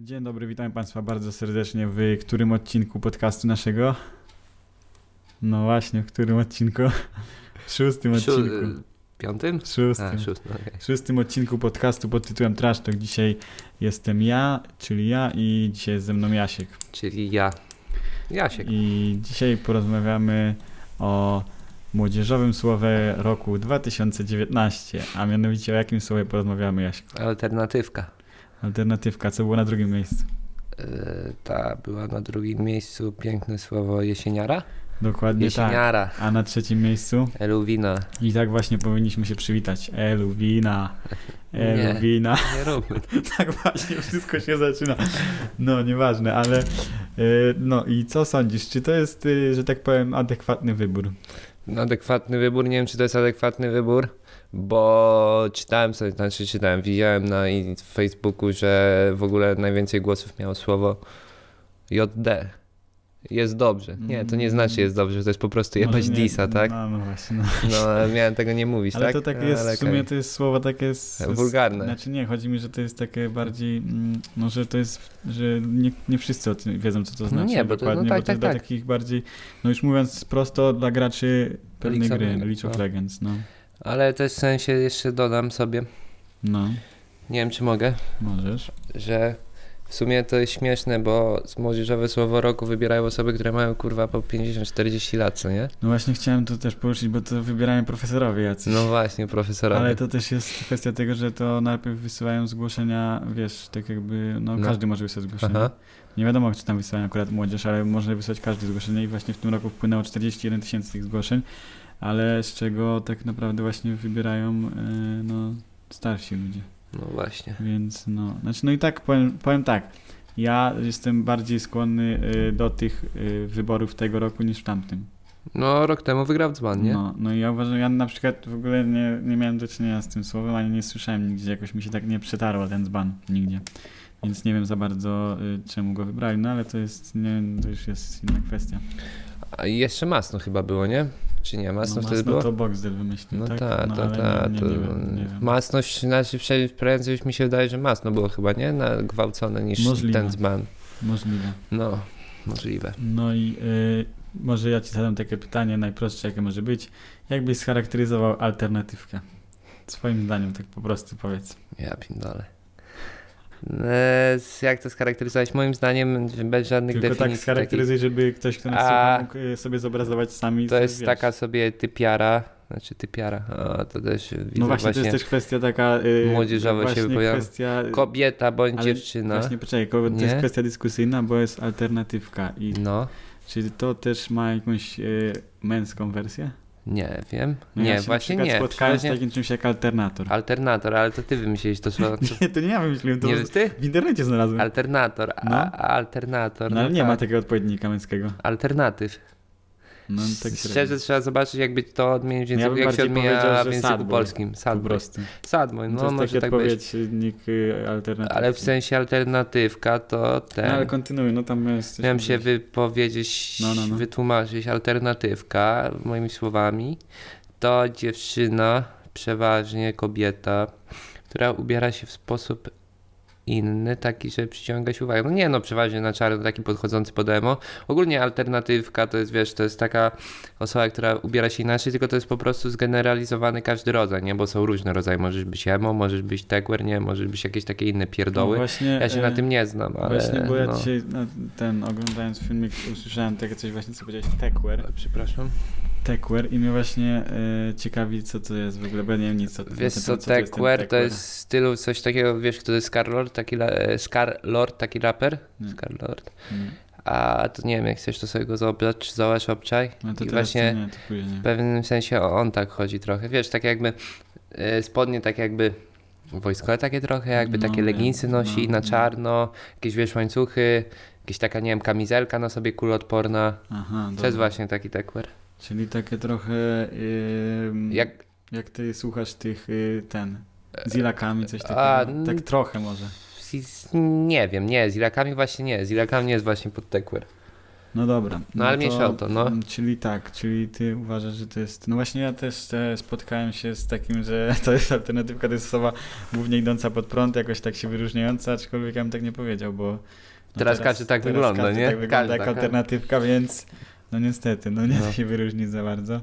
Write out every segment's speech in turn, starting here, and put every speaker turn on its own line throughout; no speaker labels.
Dzień dobry, witam Państwa bardzo serdecznie w którym odcinku podcastu naszego? No właśnie, w którym odcinku? W szóstym
Siu-
odcinku.
y, Piątym? A,
Szóstym.
szóstym, okej.
W szóstym odcinku podcastu pod tytułem Trash Talk. Dzisiaj jestem ja, czyli ja i dzisiaj jest ze mną Jasiek.
Czyli ja.
Tak.
Jasiek.
I dzisiaj porozmawiamy o młodzieżowym słowie roku 2019, a mianowicie o jakim słowie porozmawiamy, Jasiek?
Alternatywka.
Alternatywka, co było na drugim miejscu?
Y, Ta była na drugim miejscu. Piękne słowo jesieniara.
Dokładnie tak.
Jesieniara.
A na trzecim miejscu?
Eluwina.
I tak właśnie powinniśmy się przywitać. Eluwina.
Nie.
Eluwina.
Nie róbmy.
tak właśnie wszystko się zaczyna. No, nieważne, ale. y, No i co sądzisz? Czy to jest, y, że tak powiem, adekwatny wybór?
No, Adekwatny wybór. Nie wiem, czy to jest adekwatny wybór, bo czytałem sobie, znaczy czytałem, widziałem na i- Facebooku, że w ogóle najwięcej głosów miało słowo JD. Jest dobrze. Nie, to nie znaczy jest dobrze, to jest po prostu jebać
Może nie-
disa, tak?
No, no właśnie. No.
No, ale miałem tego nie mówić,
Ale
tak?
to takie jest,
Ale
w sumie to jest słowo takie. Z, z-
Wulgarne.
Znaczy nie, chodzi mi, że to jest takie bardziej. mm, No, że to jest. Że nie, nie wszyscy o tym wiedzą, co to
No
znaczy.
nie, bo to- no
dokładnie,
tak,
bo to
tak,
jest dla
tak.
takich bardziej. No już mówiąc prosto, dla graczy pewnej
League of
gry,
Legends,
League of
no.
Legends, no.
Ale też w sensie jeszcze dodam sobie,
No,
nie wiem czy mogę,
możesz.
że w sumie to jest śmieszne, bo z młodzieżowe słowo roku wybierają osoby, które mają kurwa po 50-40 lat, co nie?
No właśnie chciałem to też poruszyć, bo to wybierają profesorowie jacyś.
No właśnie, profesora.
Ale to też jest kwestia tego, że to najpierw wysyłają zgłoszenia, wiesz, tak jakby, no,
No.
każdy może wysłać zgłoszenie.
Aha.
Nie wiadomo, czy tam wysyłają akurat młodzież, ale może wysłać każdy zgłoszenie i właśnie w tym roku wpłynęło 41 tysięcy tych zgłoszeń, ale z czego tak naprawdę właśnie wybierają, e, no, starsi ludzie.
No właśnie.
Więc no, znaczy no i tak powiem, powiem tak. Ja jestem bardziej skłonny y, do tych y, wyborów tego roku niż w tamtym.
No rok temu wygrał dzban, nie?
No, no i ja uważam, ja na przykład w ogóle nie, nie miałem do czynienia z tym słowem, ani nie słyszałem nigdzie, jakoś mi się tak nie przetarło ten dzban nigdzie. Więc nie wiem za bardzo, y, czemu go wybrali, no ale to jest, nie, to już jest inna kwestia.
A i jeszcze masno chyba było, nie? Czy nie? Masno
no,
wtedy
masno
było?
to Boxdel wymyślił,
No
tak?
ta,
no,
ta,
ale
ta.
nie, nie,
to-
nie wiem, nie wiem.
Masność, znaczy prze- prędzej mi się wydaje, że masno było chyba, nie? Na gwałcone niż
Możliwe.
ten dzban.
Możliwe.
No, możliwe.
No i y, może ja ci zadam takie pytanie najprostsze, jakie może być. Jak byś scharakteryzował alternatywkę? Swoim zdaniem, tak po prostu powiedz.
Ja pindole. E, z- Jak to scharakteryzować? Moim zdaniem bez żadnych
Tylko tak
definicji. takich.
scharakteryzuj, żeby ktoś, kto nas
A-
słucha, mógł y, sobie zobrazować sami.
to
sobie,
jest
wiesz.
taka sobie typiara, znaczy typiara, a to też widzę
No właśnie, to jest też kwestia taka... y,
młodzieżowa się
właśnie
wypowiada.
kwestia...
kobieta bądź
Ale
dziewczyna.
Właśnie, poczekaj, ko- to
Nie?
jest kwestia dyskusyjna, bo jest alternatywka. I
No,
czy to też ma jakąś y, męską wersję?
nie wiem.
No
nie,
ja się
właśnie
na
nie.
przykład spotkałem z
przeważnie
takim czymś jak alternator.
Alternator, ale to ty wymyśliłeś to słowo.
Nie, to nie ja wymyśliłem, to
Nie ty?
w internecie znalazłem.
Alternator, a,
No.
a alternator.
No ale
no
nie ma
tak.
takiego odpowiednika męskiego.
Alternatyw.
No tak
Szczerze
średnio.
trzeba zobaczyć, jakby to odmienić w
No ja
języku,
bym
jak się
bardziej powiedział,
odmienia w
że
języku
sad boy.
polskim.
po
Sadboy.
prostu.
Sadboy,
No,
no
to jest taki
może tak być.
odpowiednik y, alternatywny.
Ale w sensie alternatywka to ten.
No ale kontynuuj, no tam jest coś
Miałem się
mówić.
wypowiedzieć,
No, no, no.
wytłumaczyć. Alternatywka, moimi słowami, to dziewczyna, przeważnie kobieta, która ubiera się w sposób inny, taki, żeby przyciągać uwagę. No nie no, przeważnie na czarno, taki podchodzący pod emo. Ogólnie alternatywka to jest, wiesz, to jest taka osoba, która ubiera się inaczej, tylko to jest po prostu zgeneralizowany każdy rodzaj, nie? Bo są różne rodzaje. Możesz być emo, możesz być tagwer, nie? Możesz być jakieś takie inne pierdoły.
No właśnie,
ja się
y,
na tym nie znam, ale...
Właśnie, bo ja
no.
dzisiaj no, ten, oglądając filmik, usłyszałem takie coś właśnie, co powiedziałeś, techware.
Przepraszam.
Techware i mnie właśnie y, ciekawi, co to jest w ogóle, bo ja nie wiem nic o tym.
Wiesz
na ten
co,
temat, to jest ten
Techwear to
techware.
jest w stylu coś takiego, wiesz kto to jest Scarlord, taki, la- e, Scarlord, taki raper?
Nie.
Scarlord.
Nie.
A to nie wiem, jak chcesz to sobie go zobacz, zobacz, obczaj.
No to
I
teraz
właśnie
to nie, to później.
w pewnym sensie o- on tak chodzi trochę, wiesz, tak jakby e, spodnie tak jakby wojskowe takie trochę, jakby
No,
takie
wiem,
leginsy nosi
no,
na
no.
czarno, jakieś wiesz łańcuchy, jakieś taka, nie wiem, kamizelka na sobie kulotporna.
Aha,
To jest
dobra.
właśnie taki Techwear.
Czyli takie trochę... ym,
Jak
Jak ty słuchasz tych, y, ten, z ilakami, coś
a,
takiego?
n-
tak trochę może.
Z- z- Nie wiem, nie, z Irakami właśnie nie. Z Irakami nie jest właśnie pod Techwear.
No dobra.
No, ale mniejsza o to, no.
mm, Czyli tak, czyli ty uważasz, że to jest... No właśnie ja też e, spotkałem się z takim, że to jest alternatywka, to jest osoba głównie idąca pod prąd, jakoś tak się wyróżniająca, aczkolwiek ja bym tak nie powiedział, bo... no
Teraz każdy tak
teraz
wygląda,
każdy
nie?
tak wygląda
Każdy
jak
tak.
alternatywka, więc no niestety, no nie da
No.
się wyróżnić za bardzo.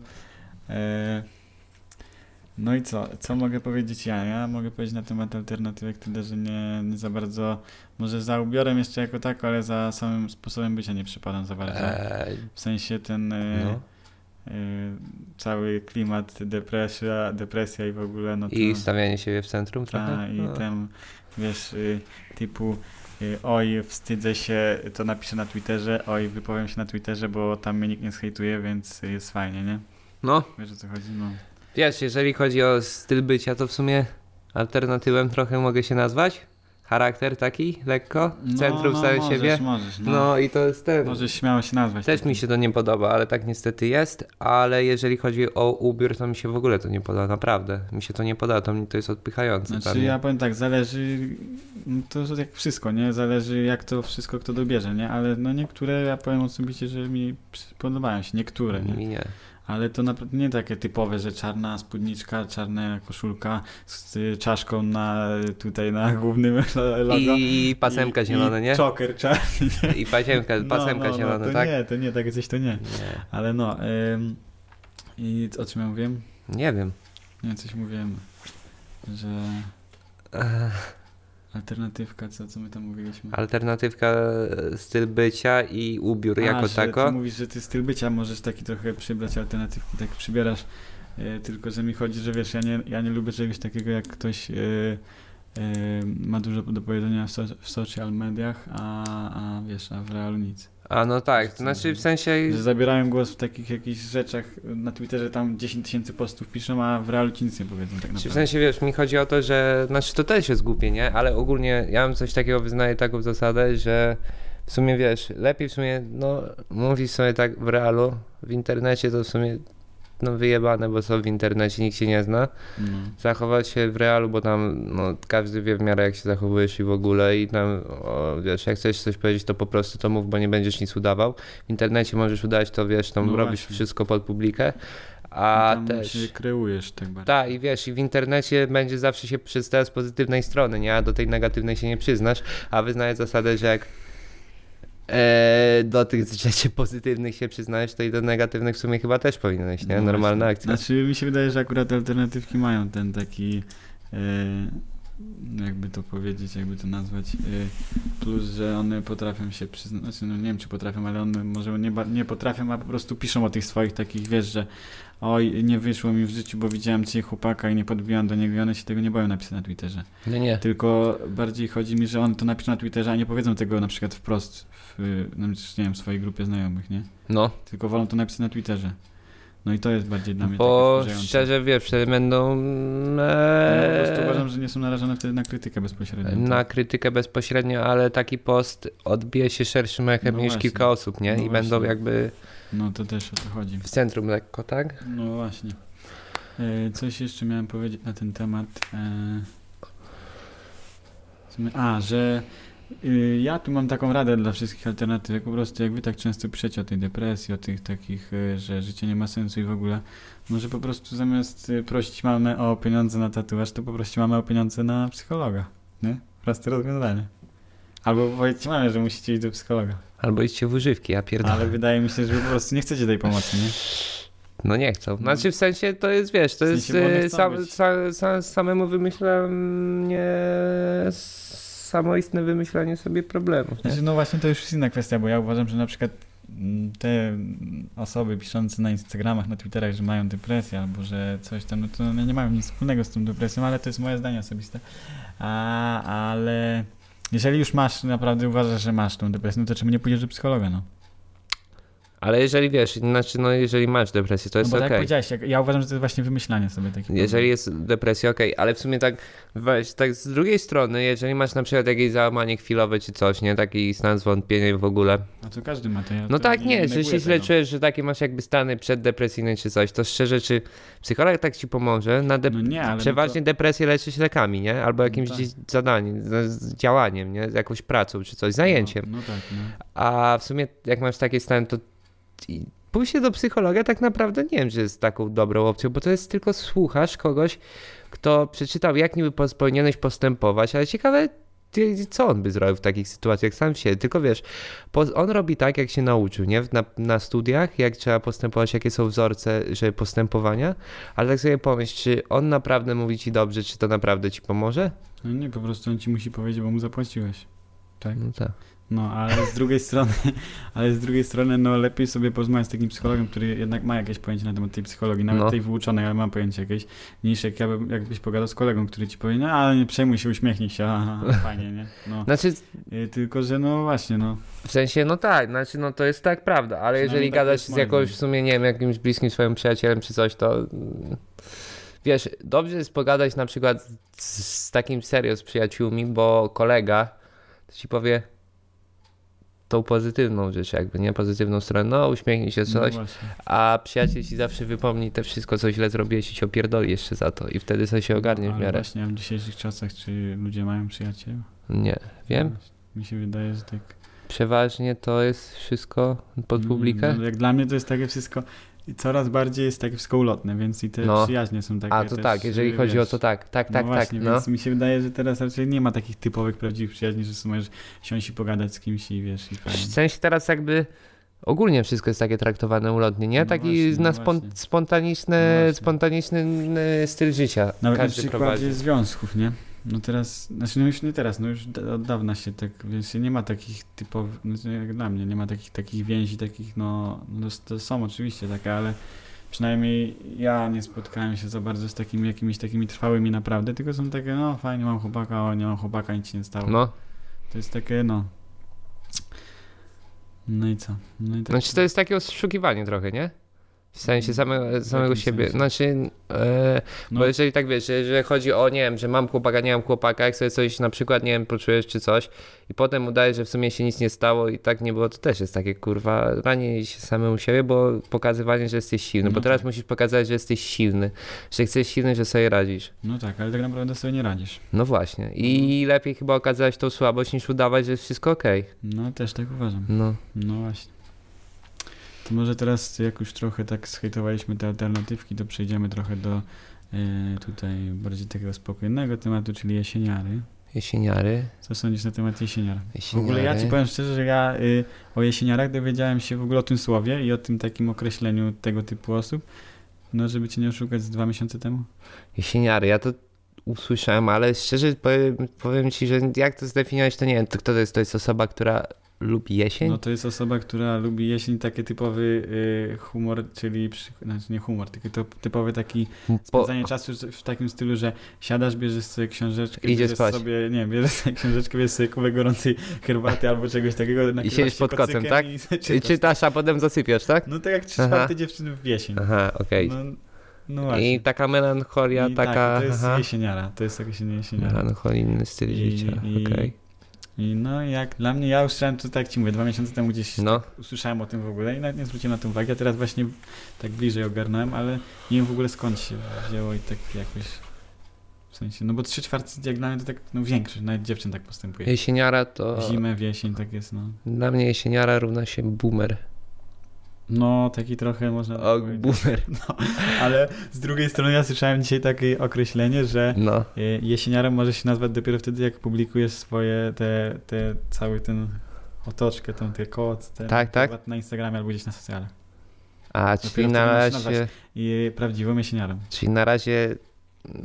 E, no i co? Co mogę powiedzieć ja? Ja mogę powiedzieć na temat alternatywek tyle, że nie, nie za bardzo... Może za ubiorem jeszcze jako tak, ale za samym sposobem bycia nie przypadam za bardzo.
Eee,
W sensie ten e,
no.
e, cały klimat, depresja, depresja i w ogóle, no to...
I stawianie siebie w centrum trochę.
ta, I
No.
tam, wiesz, y, typu y, oj, wstydzę się, to napiszę na Twitterze, oj, wypowiem się na Twitterze, bo tam mnie nikt nie zhejtuje, więc jest fajnie, nie?
no,
Wiesz o co chodzi? No.
wiesz, jeżeli chodzi o styl bycia, to w sumie alternatywem trochę mogę się nazwać. Charakter taki, lekko, w
No,
centrum
no,
stawiać
możesz,
siebie.
Możesz, no.
No. i to jest ten.
Możesz śmiało się nazwać.
Też
takim.
mi się to nie podoba, ale tak niestety jest. Ale jeżeli chodzi o ubiór, to mi się w ogóle to nie podoba, naprawdę. Mi się to nie podoba, to, mi to jest odpychające. dla
Znaczy
mnie.
ja powiem tak, zależy, no to jak wszystko, nie? Zależy jak to wszystko kto dobierze, nie? Ale no niektóre, ja powiem osobiście, że mi przy- podobają się, niektóre, nie?
Mi nie.
Ale to naprawdę nie takie typowe, że czarna spódniczka, czarna koszulka z y, czaszką na tutaj na głównym lo- logo.
I pasemka
I-
zielona,
i
nie?
Czoker czarny. nie?
I pasemka, pasemka
no, no,
zielona,
to
tak?
Nie, to nie, takie coś to nie.
Nie.
Ale no, ym, i o czym ja mówiłem?
nie wiem.
Nie, coś mówiłem, że alternatywka, co, co my tam mówiliśmy.
Alternatywka, e, styl bycia i ubiór jako
że
tako.
Ty mówisz, że ty styl bycia możesz taki trochę przybrać alternatywki, tak przybierasz. E, tylko, że mi chodzi, że wiesz, ja nie, ja nie lubię czegoś takiego, jak ktoś e, e, ma dużo do powiedzenia w, so, w social mediach, a, a wiesz, a w realu nic.
A no tak, to znaczy w sensie
Że zabierają głos w takich jakichś rzeczach na Twitterze, tam 10 tysięcy postów piszą, a w realu ci nic nie powiedzą tak
Czy
naprawdę.
w sensie wiesz, mi chodzi o to, że. Znaczy to też jest głupie, nie? Ale ogólnie ja mam coś takiego, wyznaję taką zasadę, że w sumie wiesz, lepiej w sumie, no, mówisz sobie tak w realu, w internecie to w sumie. No wyjebane, bo co w internecie nikt się nie zna.
no.
Zachować się w realu, bo tam no, każdy wie w miarę jak się zachowujesz i w ogóle i tam o, wiesz, jak chcesz coś powiedzieć, to po prostu to mów, bo nie będziesz nic udawał. W internecie możesz udać to, wiesz, tam
No
robisz
właśnie.
wszystko pod publikę.
A
A
tam
też.
się kreujesz tak bardzo.
Tak, i wiesz, i w internecie będzie zawsze się przedstawiał z pozytywnej strony, nie? A do tej negatywnej się nie przyznasz, a wyznaję zasadę, że jak e, do tych rzeczy pozytywnych się przyznajesz, to i do negatywnych w sumie chyba też powinieneś, nie?
No
Normalna
właśnie.
akcja.
Znaczy, mi się wydaje, że akurat alternatywki mają ten taki, e, jakby to powiedzieć, jakby to nazwać, e, plus, że one potrafią się przyznać, znaczy, no nie wiem, czy potrafią, ale one może nie, ba- nie potrafią, a po prostu piszą o tych swoich takich, wiesz, że oj, nie wyszło mi w życiu, bo widziałem cię chłopaka i nie podbiłam do niego i one się tego nie boją napisać na Twitterze.
No nie.
Tylko bardziej chodzi mi, że one to napiszą na Twitterze, a nie powiedzą tego na przykład wprost w, y, no, nie wiem, w swojej grupie znajomych, nie?
No,
Tylko wolą to napisać na Twitterze. No i to jest bardziej dla mnie
bo
takie wkurzające.
szczerze wiesz, wtedy będą
Ja po prostu
e,
uważam, że nie są narażone wtedy na krytykę tak? bezpośrednio.
na krytykę bezpośrednio, ale taki post odbije się szerszym echem
No
niż
właśnie.
kilka osób, nie?
No
I będą
właśnie.
jakby
No to też o to chodzi.
w centrum lekko, tak?
No właśnie. E, Coś jeszcze miałem powiedzieć na ten temat. e, co my- A, że y, ja tu mam taką radę dla wszystkich alternatyw. jak Po prostu jak wy tak często piszecie o tej depresji, o tych takich, y, że życie nie ma sensu i w ogóle, może po prostu zamiast y, prosić mamę o pieniądze na tatuaż, to poproście mamę o pieniądze na psychologa. Nie? Proste rozwiązanie. Albo powiedzcie mamie, że musicie iść do psychologa.
Albo idźcie w używki, ja pierdolę.
Ale wydaje mi się, że wy po prostu nie chcecie tej pomocy, nie?
No nie chcą. Znaczy w sensie to jest, wiesz, to
W
jest
sensie, bo one
e,
chcą
sam,
być.
sam, sam, samemu wymyślanie, samoistne wymyślanie sobie problemów. Nie?
Znaczy, no właśnie to już jest inna kwestia, bo ja uważam, że na przykład mm, te mm, osoby piszące na Instagramach, na Twitterach, że mają depresję albo że coś tam, no to one nie mają nic wspólnego z tą depresją, ale to jest moje zdanie osobiste. A, ale jeżeli już masz, naprawdę uważasz, że masz tą depresję, no to czemu nie pójdziesz do psychologa, no?
Ale jeżeli wiesz, znaczy no jeżeli masz depresję, to
no
jest
bo tak jak
okej.
powiedziałeś, jak, ja uważam, że to jest właśnie wymyślanie sobie takich
Jeżeli jest depresja, okej, ale w sumie tak weź, tak z drugiej strony, jeżeli masz na przykład jakieś załamanie chwilowe czy coś, nie, taki stan zwątpienia i w ogóle.
problemów. A to każdy ma to. Ja to
No tak, nie, że
neguję
się źle
tego.
czujesz, że takie masz jakby stany przeddepresyjne czy coś, to szczerze, czy psycholog tak ci pomoże? Na dep-
No nie, ale no
Przeważnie depresję leczysz lekami, nie? Albo jakimś
tak.
dzi- zadaniem, z- z działaniem, nie? Z jakąś pracą czy coś, zajęciem.
No, no tak, no.
A w sumie jak masz takie stan, to i pójście do psychologa tak naprawdę nie wiem, czy jest taką dobrą opcją, bo to jest tylko słuchasz kogoś, kto przeczytał, jak niby pos- powinieneś postępować, ale ciekawe, ty- co on by zrobił w takich sytuacjach sam się. Tylko wiesz, po, on robi tak, jak się nauczył, nie? Na, na studiach, jak trzeba postępować, jakie są wzorce że postępowania, ale tak sobie pomyśl, czy on naprawdę mówi ci dobrze, czy to naprawdę ci pomoże?
no nie, po prostu on ci musi powiedzieć, bo mu zapłaciłeś. Tak.
No tak.
No, ale z drugiej strony, ale z drugiej strony, no lepiej sobie porozmawiać z takim psychologiem, który jednak ma jakieś pojęcie na temat tej psychologii, nawet
No.
tej wyuczonej, ale ma pojęcie jakieś, niż jak ja bym, jakbyś pogadał z kolegą, który ci powie, no ale nie przejmuj się, uśmiechnij się, aha, fajnie, nie? No.
Znaczy,
Y, Tylko, że no właśnie, no.
W sensie, no tak, znaczy, no to jest tak prawda, ale
Przynajmniej
jeżeli
tak
gadasz
jest
z
moim
jakąś,
zdaniem.
w sumie, nie wiem, jakimś bliskim swoim przyjacielem czy coś, to mm, wiesz, dobrze jest pogadać na przykład z, z takim serio z przyjaciółmi, bo kolega to ci powie tą pozytywną rzecz, jakby, nie? Pozytywną stronę, no uśmiechnij się
no
coś,
właśnie.
a przyjaciel ci zawsze wypomni te wszystko, co źle zrobiłeś i ci opierdoli jeszcze za to i wtedy sobie się ogarnie w
No, Ale
miarę.
właśnie, a w dzisiejszych czasach, czy ludzie mają przyjaciół?
Nie, wiem.
Mi się wydaje, że tak.
Przeważnie to jest wszystko pod
No,
publikę.
No, jak dla mnie to jest takie wszystko, coraz bardziej jest takie wszystko ulotne, więc i te
No.
przyjaźnie są takie
A to
też,
tak, jeżeli
y,
chodzi
wiesz,
o to tak, tak,
No
tak, tak.
właśnie,
No.
więc mi się wydaje, że teraz raczej nie ma takich typowych, prawdziwych przyjaźni, że sobie możesz siąść i pogadać z kimś i wiesz, i fajnie.
W sensie teraz jakby ogólnie wszystko jest takie traktowane ulotnie, nie?
No
Taki
właśnie,
na
no
spon-
właśnie.
spontaniczny,
No właśnie.
spontaniczny n- styl życia
Nawet na
każdy
przykładzie
prowadzi.
związków, nie? No teraz, znaczy no już nie teraz, no już da, od dawna się tak, więc nie ma takich typowych, znaczy jak dla mnie, nie ma takich, takich więzi, takich no, no to, to są oczywiście takie, ale przynajmniej ja nie spotkałem się za bardzo z takimi jakimiś takimi trwałymi naprawdę, tylko są takie, no fajnie, mam chłopaka, o nie mam chłopaka, nic się nie stało.
No,
To jest takie, no. No i co? No i tak,
znaczy to jest takie oszukiwanie trochę, nie? W sensie same,
Mm, W
samego
jakim
siebie.
sensie?
Znaczy, e,
No.
bo jeżeli tak wiesz, że, że chodzi o, nie wiem, że mam chłopaka, nie mam chłopaka, jak sobie coś na przykład, nie wiem, poczujesz czy coś i potem udaje, że w sumie się nic nie stało i tak nie było, to też jest takie, kurwa, ranienie się samemu siebie, bo pokazywanie, że jesteś silny, bo
No
teraz
tak.
musisz pokazać, że jesteś silny, że jesteś silny, że sobie radzisz.
No tak, ale tak naprawdę sobie nie radzisz.
No właśnie. I lepiej chyba okazać tą słabość, niż udawać, że jest wszystko okej.
No też tak uważam.
No.
No właśnie. To może teraz, jak już trochę tak zhejtowaliśmy te alternatywki, to przejdziemy trochę do e, tutaj bardziej takiego spokojnego tematu, czyli jesieniary.
Jesieniary,
Co sądzisz na temat jesieniar? W
jesieniary.
ogóle ja ci powiem szczerze, że ja y, o jesieniarach dowiedziałem się w ogóle o tym słowie i o tym takim określeniu tego typu osób, no żeby cię nie oszukać z dwa miesiące temu.
Jesieniary, ja to usłyszałem, ale szczerze powiem, powiem ci, że jak to zdefiniować, to nie wiem, to kto to jest? To jest osoba, która lubi jesień?
No to jest osoba, która lubi jesień, taki typowy y, humor, czyli przy, znaczy nie humor, tylko to typowy taki
Po-
spędzanie czasu z- w takim stylu, że siadasz, bierzesz sobie książeczkę,
Idzie
bierzesz
spać.
sobie, nie, bierzesz sobie książeczkę, bierzesz sobie kubek gorącej herbaty albo czegoś takiego. nakrywasz
siedzisz pod kocem,
kocykiem
tak?
I
Czy
czytasz.
czytasz, a potem zasypiasz, tak?
No tak jak trzy
Aha.
czwarte dziewczyny w jesień.
Aha, okej.
No, no właśnie.
I taka melancholia,
I
taka...
tak, to jest
aha, no.
jesieniara, to jest jakaś jesieniara.
melancholijny styl
I-
życia,
i-
okej.
I no jak dla mnie, ja już słyszałem to tak jak ci mówię, dwa miesiące temu gdzieś
No,
usłyszałem o tym w ogóle i nawet nie zwróciłem na to uwagi, a teraz właśnie tak bliżej ogarnąłem, ale nie wiem w ogóle skąd się wzięło i tak jakoś w sensie, no bo trzy czwarte jak dla mnie to tak, no większy, nawet dziewczyn tak postępuje.
jesieniara to...
W Zimę, w jesień, tak jest, no.
Dla mnie jesieniara równa się boomer.
No, taki trochę można
O,
powiedzieć.
boomer,
ale z drugiej strony ja słyszałem dzisiaj takie określenie, że
no.
y, jesieniarem możesz się nazwać dopiero wtedy, jak publikujesz swoje, te, te cały ten otoczkę, tą, te kod, ten,
Tak, tak.
na Instagramie albo gdzieś na socjalach.
A, czyli
wtedy
na
można
razie...
nazwać. I prawdziwym jesieniarem.
Czyli na razie,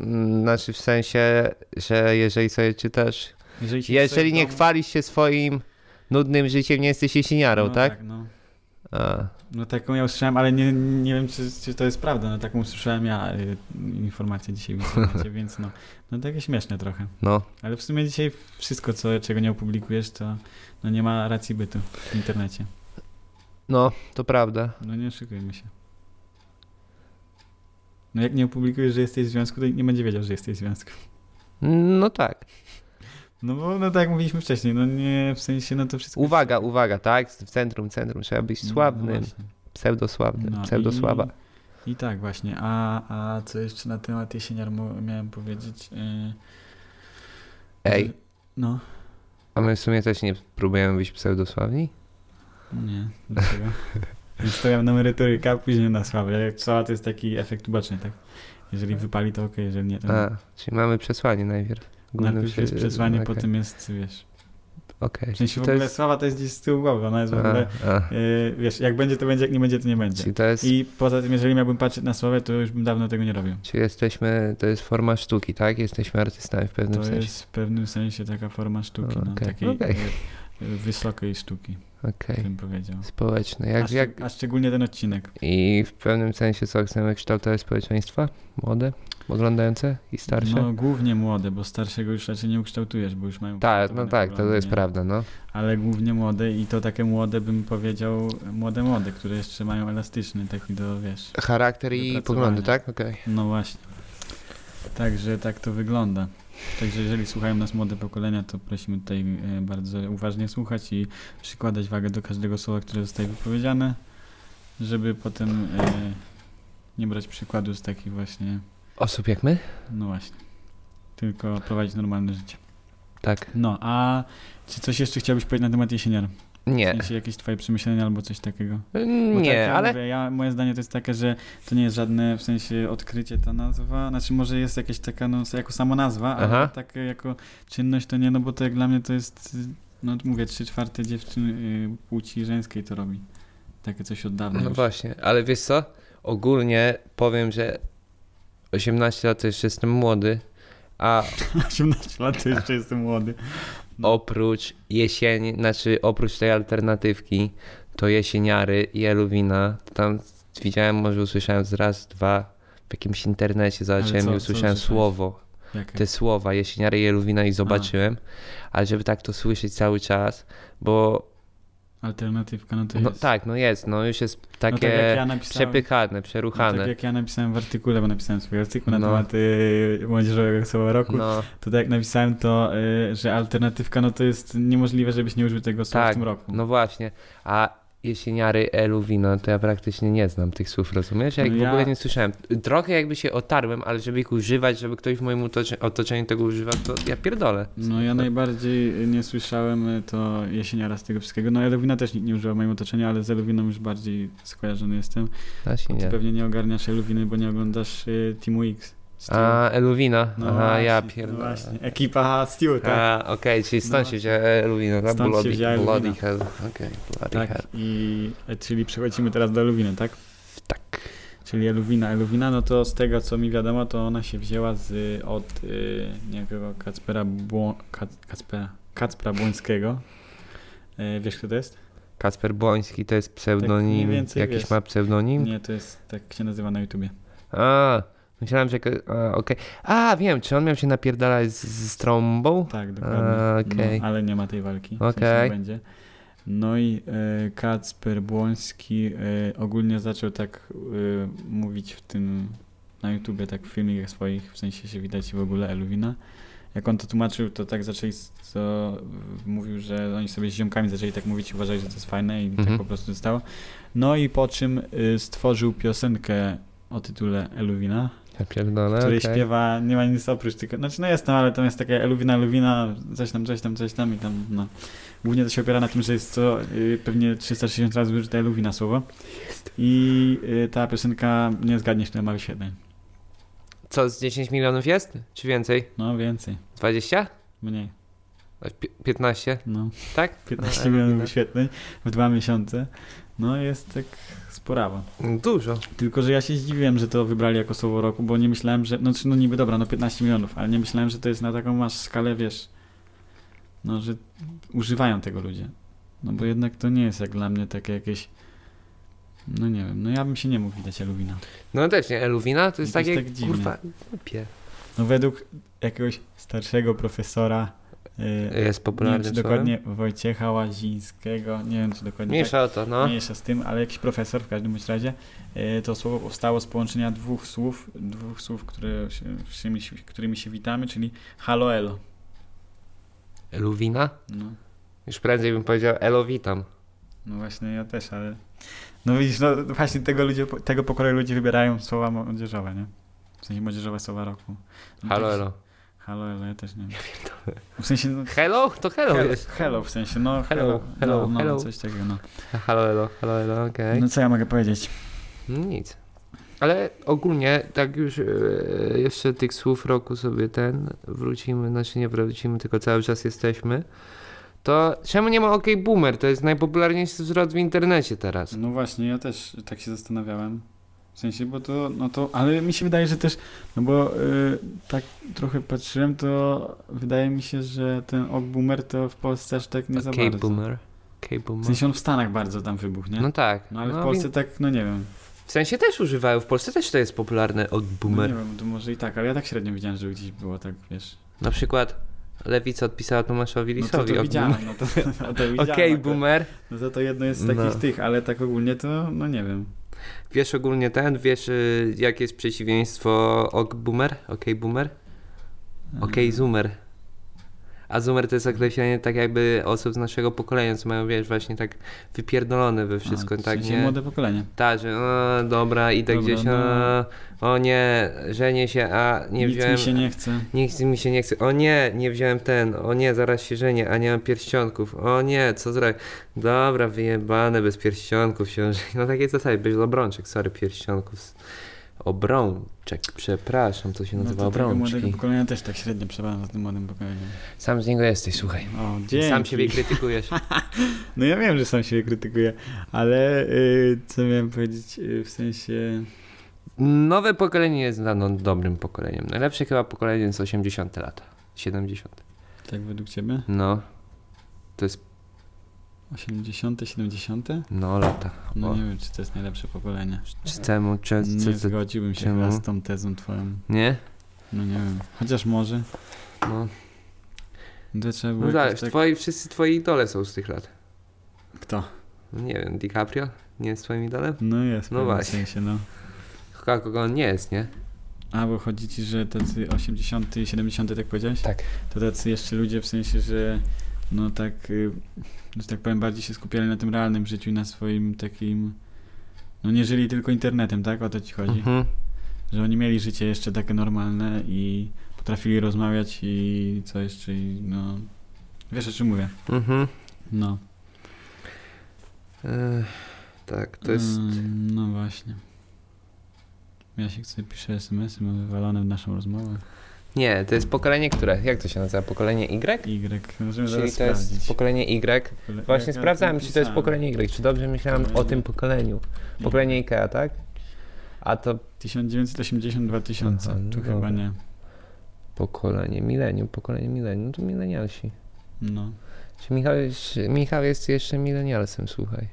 mm, znaczy w sensie, że jeżeli sobie czytasz,
Jeżeli, się
jeżeli
sobie
nie
w domu-
chwalisz się swoim nudnym życiem, nie jesteś jesieniarą,
no,
tak?
tak no.
A,
no taką ja usłyszałem, ale nie, nie wiem, czy, czy to jest prawda. No taką usłyszałem ja y, informację dzisiaj w internecie, więc no, no takie śmieszne trochę.
no.
Ale w sumie dzisiaj wszystko, co, czego nie opublikujesz, to no nie ma racji bytu w internecie.
No, to prawda.
No nie oszukujmy się. No jak nie opublikujesz, że jesteś w związku, to nikt nie będzie wiedział, że jesteś w związku.
No tak.
No bo no tak jak mówiliśmy wcześniej, no nie w sensie, no to wszystko...
Uwaga, uwaga, tak? W centrum, centrum. Trzeba być
No
sławnym.
właśnie.
Pseudosławnym.
No
Pseudosława.
I, I tak właśnie. A, a co jeszcze na temat jesieniar mo- miałem powiedzieć? Yy,
Ej,
że- No,
a my w sumie też nie próbujemy być pseudosławni?
no nie, dlaczego? Stawiam na merytorykę, a później na sławę. Jak sława to jest taki efekt uboczny, tak? Jeżeli wypali, to okej, jeżeli nie, to nie.
A, czyli mamy przesłanie najpierw. Głównym
Tak. Najpierw
przy-
jest przesłanie,
okej,
potem jest, wiesz...
Okej.
W sensie w
To
ogóle
jest-
sława to jest gdzieś z tyłu głowy, ona jest w
A,
ogóle...
a.
Yy, wiesz, jak będzie, to będzie, jak nie będzie, to nie będzie.
Czyli to jest...
I poza tym, jeżeli miałbym patrzeć na sławę, to już bym dawno tego nie robił.
Czyli jesteśmy... To jest forma sztuki, tak? Jesteśmy artystami w pewnym
To
sensie.
jest w pewnym sensie taka forma sztuki, no,
Okej,
takiej
okej.
e, e, wysokiej sztuki,
Okej.
bym powiedział.
Społeczne.
A,
Jak,
szcz-
jak...
a szczególnie ten odcinek.
I w pewnym sensie co, chcemy kształtować społeczeństwa? Młode, oglądające i starsze?
No głównie młode, bo starszego już raczej nie ukształtujesz, bo już mają...
tak, no
ukształtowane
tak, to
poglądy,
jest
nie?
prawda, no.
Ale głównie młode i to takie młode, bym powiedział, młode młode, które jeszcze mają elastyczny taki do, wiesz...
Charakter i
Wypracowanie.
poglądy, tak? Okej.
No właśnie. Także tak to wygląda. Także jeżeli słuchają nas młode pokolenia, to prosimy tutaj e, bardzo uważnie słuchać i przykładać wagę do każdego słowa, które zostaje wypowiedziane, żeby potem e, nie brać przykładu z takich właśnie,
Osób jak my?
no właśnie, tylko prowadzić normalne życie.
Tak.
No, a czy coś jeszcze chciałbyś powiedzieć na temat jesieniar?
Nie. Yy,
Jeśli jakieś twoje przemyślenia albo coś takiego? Bo tak
Nie,
ja
ale...
Mówię, ja, moje zdanie to jest takie, że to nie jest żadne w sensie odkrycie ta nazwa, znaczy może jest jakaś taka, no jako sama nazwa, ale
Aha.
tak jako czynność to nie, no bo to jak dla mnie to jest, y, no mówię, trzy czwarte dziewczyn y, płci żeńskiej to robi. Takie coś od dawna
No
już.
właśnie, ale wiesz co? Ogólnie powiem, że 18 lat to jeszcze jestem młody, a
18 lat to jeszcze jestem młody. No.
oprócz jesieni, znaczy oprócz tej alternatywki, to jesieniary i Eluwina, to tam widziałem, może usłyszałem z raz, dwa, w jakimś internecie zobaczyłem
co-
i
co
usłyszałem
usłyszałeś?
słowo,
Jakie?
te słowa, jesieniary i Eluwina i zobaczyłem, ale żeby tak to słyszeć cały czas, bo
Alternatywka, no to
no,
jest.
tak, no jest, no już jest
no, tak jak
takie
ja napisałem,
przepychane,
no, tak
przeruchane.
jak ja napisałem w artykule, bo napisałem swój artykuł na
No.
temat y, młodzieżowego słowa roku,
No,
To tak jak napisałem to, y, że alternatywka, no to jest niemożliwe, żebyś nie użył tego słowa
Tak,
w tym roku.
no właśnie, a jesieniary Eluwina, to ja praktycznie nie znam tych słów, rozumiesz? Ja ich
No
w
ja-
ogóle nie słyszałem. Trochę jakby się otarłem, ale żeby ich używać, żeby ktoś w moim otocze- otoczeniu tego używał, to ja pierdolę.
No ja najbardziej y, nie słyszałem y, to jesieniara z tego wszystkiego. No Elowina też nikt nie używa w moim otoczeniu, ale z Elowiną już bardziej skojarzony jestem.
Właśnie
Ty
nie.
pewnie nie ogarniasz Elowiny, bo nie oglądasz y, Teamu X. Stu.
A, Eluwina,
No
aha,
właśnie,
ja
No
pierdolę.
właśnie, ekipa Stew, tak?
A, okej, czyli
No
stąd się
właśnie.
wzięła Eluwina, tak?
Stąd się
Bloody,
wzięła Elwina.
bloody hell, okej, bloody hell.
Tak, i e, czyli przechodzimy teraz do Elowiny, tak?
Tak.
Czyli Eluwina. Eluwina, no to z tego co mi wiadomo, to ona się wzięła z, od y, niejakiego Kacpera Bło, Kac, Kacpera, Kacpra Błońskiego. Y, wiesz kto to jest?
Kacper Błoński to jest
Tak, mniej
pseudonim,
więcej
jakiś
wiesz.
ma pseudonim?
Nie, to jest, tak się nazywa na YouTubie.
A, myślałem, że... ko- A, okej. A, wiem, czy on miał się napierdalać z, z trąbą?
Tak,
A,
dokładnie.
E, okej.
No, ale nie ma tej walki. W sensie
Okej.
nie będzie. No i y, Kacper Błoński y, ogólnie zaczął tak y, mówić w tym na YouTubie, tak w filmikach swoich, w sensie się widać i w ogóle Elwina. Jak on to tłumaczył, to tak zaczęli, s- to y, mówił, że oni sobie z ziomkami zaczęli tak mówić i uważali, że to jest fajne i tak
Mhm.
po prostu zostało. No i po czym y, stworzył piosenkę o tytule Elwina,
Ja pierdolę,
której
okej.
śpiewa, nie ma nic oprócz tylko, znaczy no jest tam, ale tam jest taka Eluwina, Eluwina, coś tam, coś tam, coś tam i tam, no. Głównie to się opiera na tym, że jest co, y, pewnie 360 razy użyte Eluwina słowo. I y, ta piosenka, nie zgadniesz, ile ma wyświetleń.
Co, z 10 milionów jest? Czy więcej?
No więcej,
20?
mniej,
A, pi- 15,
no.
tak?
15
No,
milionów
no.
wyświetleń w dwa miesiące. No jest tak sporawa.
No, Dużo.
Tylko, że ja się zdziwiłem, że to wybrali jako słowo roku, bo nie myślałem, że, no, czy- no niby dobra, no 15 milionów, ale nie myślałem, że to jest na taką masz skalę, wiesz, no, że używają tego ludzie. No bo jednak to nie jest jak dla mnie takie jakieś, no nie wiem, no ja bym się nie mógł widać Eluwina.
No też nie, Eluwina to jest
Jakoś
takie,
tak dziwnie.
kurwa, głupie.
No według jakiegoś starszego profesora Y,
Jest
nie wiem,
popularny
czy dokładnie Wojciecha Łazińskiego, nie wiem, czy dokładnie tak,
Mniejsza o to, no.
mniejsza z tym, ale jakiś profesor w każdym bądź razie. e, To słowo powstało z połączenia dwóch słów, dwóch słów, które się, którymi się- którymi się witamy, czyli halo elo.
Luwina?
No,
Już prędzej bym powiedział Elo, witam.
no właśnie ja też, ale... No widzisz, no właśnie tego, ludzie, tego pokoju ludzi wybierają słowa młodzieżowe, nie? W sensie młodzieżowe słowa roku. No
Halo,
tak-
elo.
Halo elo, ja też nie wiem. W sensie, no,
Hello? To hello,
hello,
jest.
hello w sensie, no
Hello,
hello,
hello,
no,
hello.
no coś takiego, no.
Halo, elo, halo, elo, okej.
No co ja mogę powiedzieć?
No Nic. Ale ogólnie, tak już e, jeszcze tych słów roku sobie ten wrócimy, znaczy nie wrócimy, tylko cały czas jesteśmy. To czemu nie ma OK Boomer? To jest najpopularniejszy zwrot w internecie teraz.
No właśnie, ja też tak się zastanawiałem. W sensie, bo to, no to, ale mi się wydaje, że też, no bo y, tak trochę patrzyłem, to wydaje mi się, że ten ok boomer to w Polsce aż tak nie za
OK
bardzo.
Boomer. OK
W
Boomer.
sensie on w Stanach bardzo tam wybuchł, nie?
No tak.
No ale
No,
w Polsce tak, no nie wiem.
więc- W sensie też używają, w Polsce też to jest popularne od
No
Boomer.
nie wiem, to może i tak, ale ja tak średnio widziałem, że gdzieś było tak, wiesz.
Na przykład Lewica odpisała Tomaszowi
No to,
Lisowi
to
od Boomer.
widziałem, no to, no to widziałem.
Okej,
akurat.
Boomer.
No to to jedno jest z
No.
takich tych, ale tak ogólnie to, no nie wiem.
Wiesz ogólnie ten, wiesz y, jakie jest przeciwieństwo OK Boomer? OK Boomer? Okej,
No,
Zoomer. A Zoomer to jest określenie tak jakby osób z naszego pokolenia, co mają, wiesz, właśnie tak wypierdolone we wszystko,
A, no, w
tak
sensie
nie?
młode pokolenie.
Tak, że a, dobra, idę
Dobra, no.
gdzieś, a, o nie, żenię się, a nie
Nic
wziąłem...
mi się nie chce.
Nie chce mi się, nie chce. O nie, nie wziąłem ten. O nie, zaraz się żenię, a nie mam pierścionków. O nie, co zrobię? Dobra, wyjebane, bez pierścionków się żenię. Na takiej zasadzie, bez obrączek, sorry, pierścionków. Obrączek, przepraszam, to się
No
nazywa
to tego młodego
obrączki.
pokolenia też tak średnio przepadam za tym młodym pokoleniem.
Sam z niego jesteś, słuchaj.
O, dzięki.
Sam siebie krytykujesz.
No ja wiem, że sam siebie krytykuję, ale y, co miałem powiedzieć y, w sensie...
Nowe pokolenie jest dla nas dobrym pokoleniem. Najlepsze chyba pokolenie jest 80 lata. 70.
Tak według ciebie?
No. To jest,
80, 70?
no, lata.
No
O.
nie wiem, czy to jest najlepsze pokolenie.
Czy temu, czy,
Nie
czy, czy,
zgodziłbym się
czemu?
chyba z tą tezą twoją.
nie?
No nie wiem. Chociaż może.
No.
No To trzeba było
No
jakoś
zależy,
tak...
twoi, wszyscy twoi idole są z tych lat.
Kto?
No Nie wiem, DiCaprio nie jest twoim idolem?
No jest, w
No
pewnym
właśnie.
sensie, no.
Chyba kogo on nie jest, nie?
A, bo chodzi ci, że tacy 80 i 70, tak powiedziałeś?
Tak.
To tacy jeszcze ludzie w sensie, że no tak, y, że tak powiem, bardziej się skupiali na tym realnym życiu i na swoim takim. No nie żyli tylko internetem, tak? O to ci chodzi.
Mhm.
Że oni mieli życie jeszcze takie normalne i potrafili rozmawiać i co jeszcze i no. Wiesz o czym mówię.
Mhm.
No.
Ech, tak, to jest...
Mm, No właśnie. Ja się chcę pisze SMS-y, mam wywalone w naszą rozmowę.
Nie, to jest pokolenie które? Jak to się nazywa? Pokolenie Y?
Y. Możemy zaraz
Czyli to jest
sprawdzić.
pokolenie Y.
Pole-
Właśnie
jak ja
sprawdzałem,
tu
czy to jest
pisałem.
pokolenie Y, czy dobrze myślałem o
Pokolenie-
tym pokoleniu. Pokolenie IKEA, tak? A to
1980 2000
Aha,
tu
no
chyba
dobra.
nie.
pokolenie milenium, pokolenie milenium, to milenialsi.
No.
Czy Michał, czy Michał jest jeszcze milenialsem, słuchaj.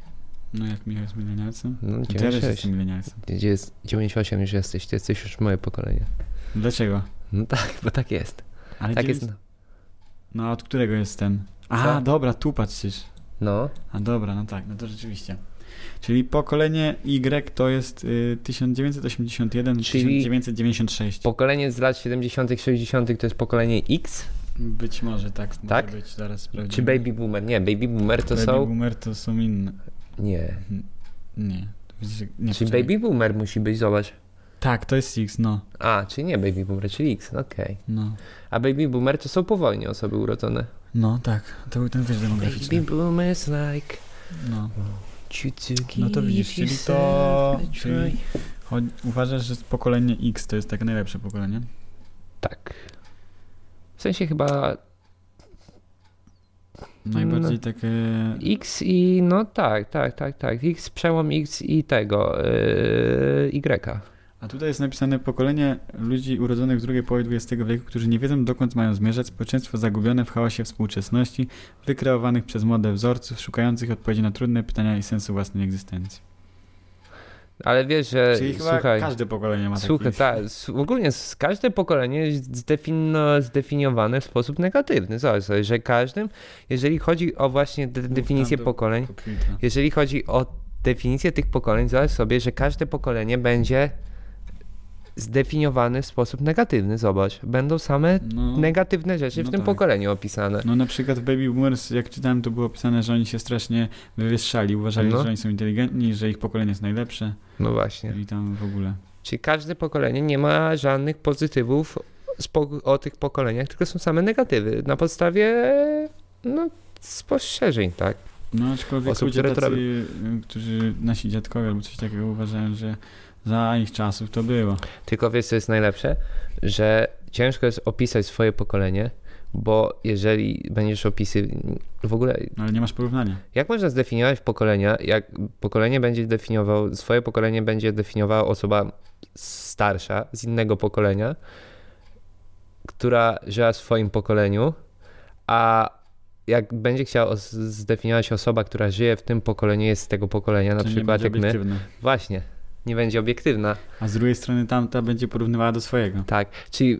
No jak Michał jest milenialcem?
No,
To ja też
96.
jestem milenialcem.
Gdzie jest 98 już jesteś, ty jesteś już moje pokolenie.
Dlaczego?
No tak, bo tak jest.
Ale
Tak
gdzie
jest.
jest- No a od którego jestem? A,
Co?
dobra, tu patrzysz.
No,
A dobra, no tak, no to rzeczywiście. Czyli pokolenie Y to jest y, 1981
Czyli-
1996.
pokolenie z lat 70., 60. to jest pokolenie X?
Być może tak,
Tak?
może być, zaraz sprawdzimy.
Czy Baby Boomer? Nie, Baby Boomer to
baby
są.
boomer to są inne. Mhm.
Nie.
Nie. Widzisz, nie
Czy
poczekaj.
Baby Boomer musi być, zobacz.
Tak, to jest X, no.
A, czy nie Baby Boomer, czyli X, no okej.
No,
A Baby Boomer to są po wojnie osoby urodzone.
no tak, to był ten wyż demograficzny.
Baby Boomer is like.
No.
Tsutsuki
No to widzisz, czyli
yourself
to-
a
czyli-
try.
Cho- Uważasz, że pokolenie X to jest takie najlepsze pokolenie?
Tak. W sensie chyba
Najbardziej takie.
X i no tak, tak, tak, tak. X przełom X i tego yy, Y.
A tutaj jest napisane pokolenie ludzi urodzonych w drugiej połowie XX wieku, którzy nie wiedzą dokąd mają zmierzać, społeczeństwo zagubione w chaosie współczesności, wykreowanych przez modę wzorców, szukających odpowiedzi na trudne pytania i sensu własnej egzystencji.
Ale wiesz, że
Czyli chyba
słuchaj,
każde pokolenie ma taki...
słuchaj tak. ta, s- ogólnie s- każde pokolenie jest zdefino, zdefiniowane w sposób negatywny. Zobacz sobie, że każdym, jeżeli chodzi o właśnie de- definicję
tamto-
pokoleń,
Kopita.
jeżeli chodzi o definicję tych pokoleń, zobacz sobie, że każde pokolenie będzie zdefiniowane w sposób negatywny. Zobacz, będą same
No,
negatywne rzeczy
no
w tym
tak.
pokoleniu opisane.
no na przykład w Baby Boomers, jak czytałem, to było opisane, że oni się strasznie wywyższali, uważali,
No.
że oni są inteligentni, że ich pokolenie jest najlepsze
No właśnie.
i tam w ogóle.
Czyli każde pokolenie nie ma żadnych pozytywów spo- o tych pokoleniach, tylko są same negatywy na podstawie no, spostrzeżeń, tak?
No aczkolwiek
Osób,
ludzie
które to
tacy, y, którzy, nasi dziadkowie albo coś takiego uważają, że za ich czasów to było.
Tylko wiesz, co jest najlepsze? Że ciężko jest opisać swoje pokolenie, bo jeżeli będziesz opisy... W ogóle,
No, ale nie masz porównania.
jak można zdefiniować pokolenia, jak pokolenie będzie definiował, swoje pokolenie będzie definiowała osoba starsza z innego pokolenia, która żyła w swoim pokoleniu, a jak będzie chciała os- zdefiniować osoba, która żyje w tym pokoleniu, jest z tego pokolenia, na
To nie
przykład
będzie
jak my,
obiektywne.
właśnie, nie będzie obiektywna.
A z drugiej strony tamta będzie porównywała do swojego.
Tak, czyli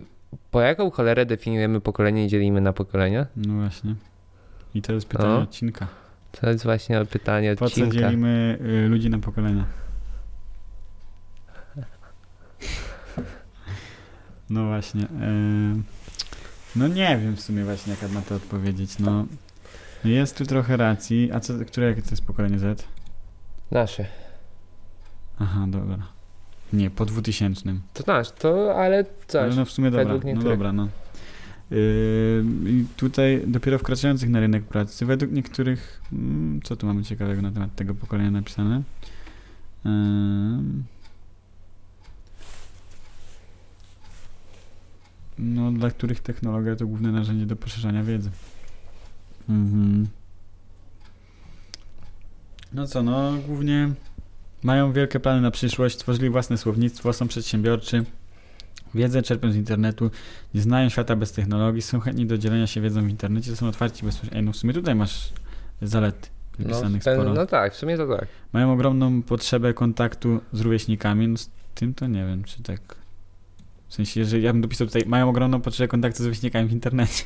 po jaką cholerę definiujemy pokolenie i dzielimy na pokolenia?
No właśnie. I to jest pytanie
No.
odcinka.
To jest właśnie pytanie
Po co
odcinka.
dzielimy y, ludzi na pokolenia? No właśnie. em, no nie wiem w sumie właśnie, jak na to odpowiedzieć. No, no jest tu trochę racji. A co, które jakie to jest pokolenie Z?
Nasze.
Aha, dobra. Nie, po 2000.
To nasz, to ale coś.
Ale no w sumie dobra,
Według
no
niektórych.
dobra, no. Ym, I tutaj dopiero wkraczających na rynek pracy, według niektórych, mm, co tu mamy ciekawego na temat tego pokolenia napisane? Yy, Ym. No, dla których technologia to główne narzędzie do poszerzania wiedzy. Mhm. No co, no głównie mają wielkie plany na przyszłość, tworzyli własne słownictwo, są przedsiębiorczy, wiedzę czerpią z internetu, nie znają świata bez technologii, są chętni do dzielenia się wiedzą w internecie, są otwarci bezpośrednio. Ej, no w sumie tutaj masz zalety
No,
wypisanych
ten-
sporo.
no tak, w sumie to tak.
Mają ogromną potrzebę kontaktu z rówieśnikami. No z tym to nie wiem, czy tak. W sensie, jeżeli ja bym dopisał tutaj, mają ogromną potrzebę kontaktu z rówieśnikami w internecie.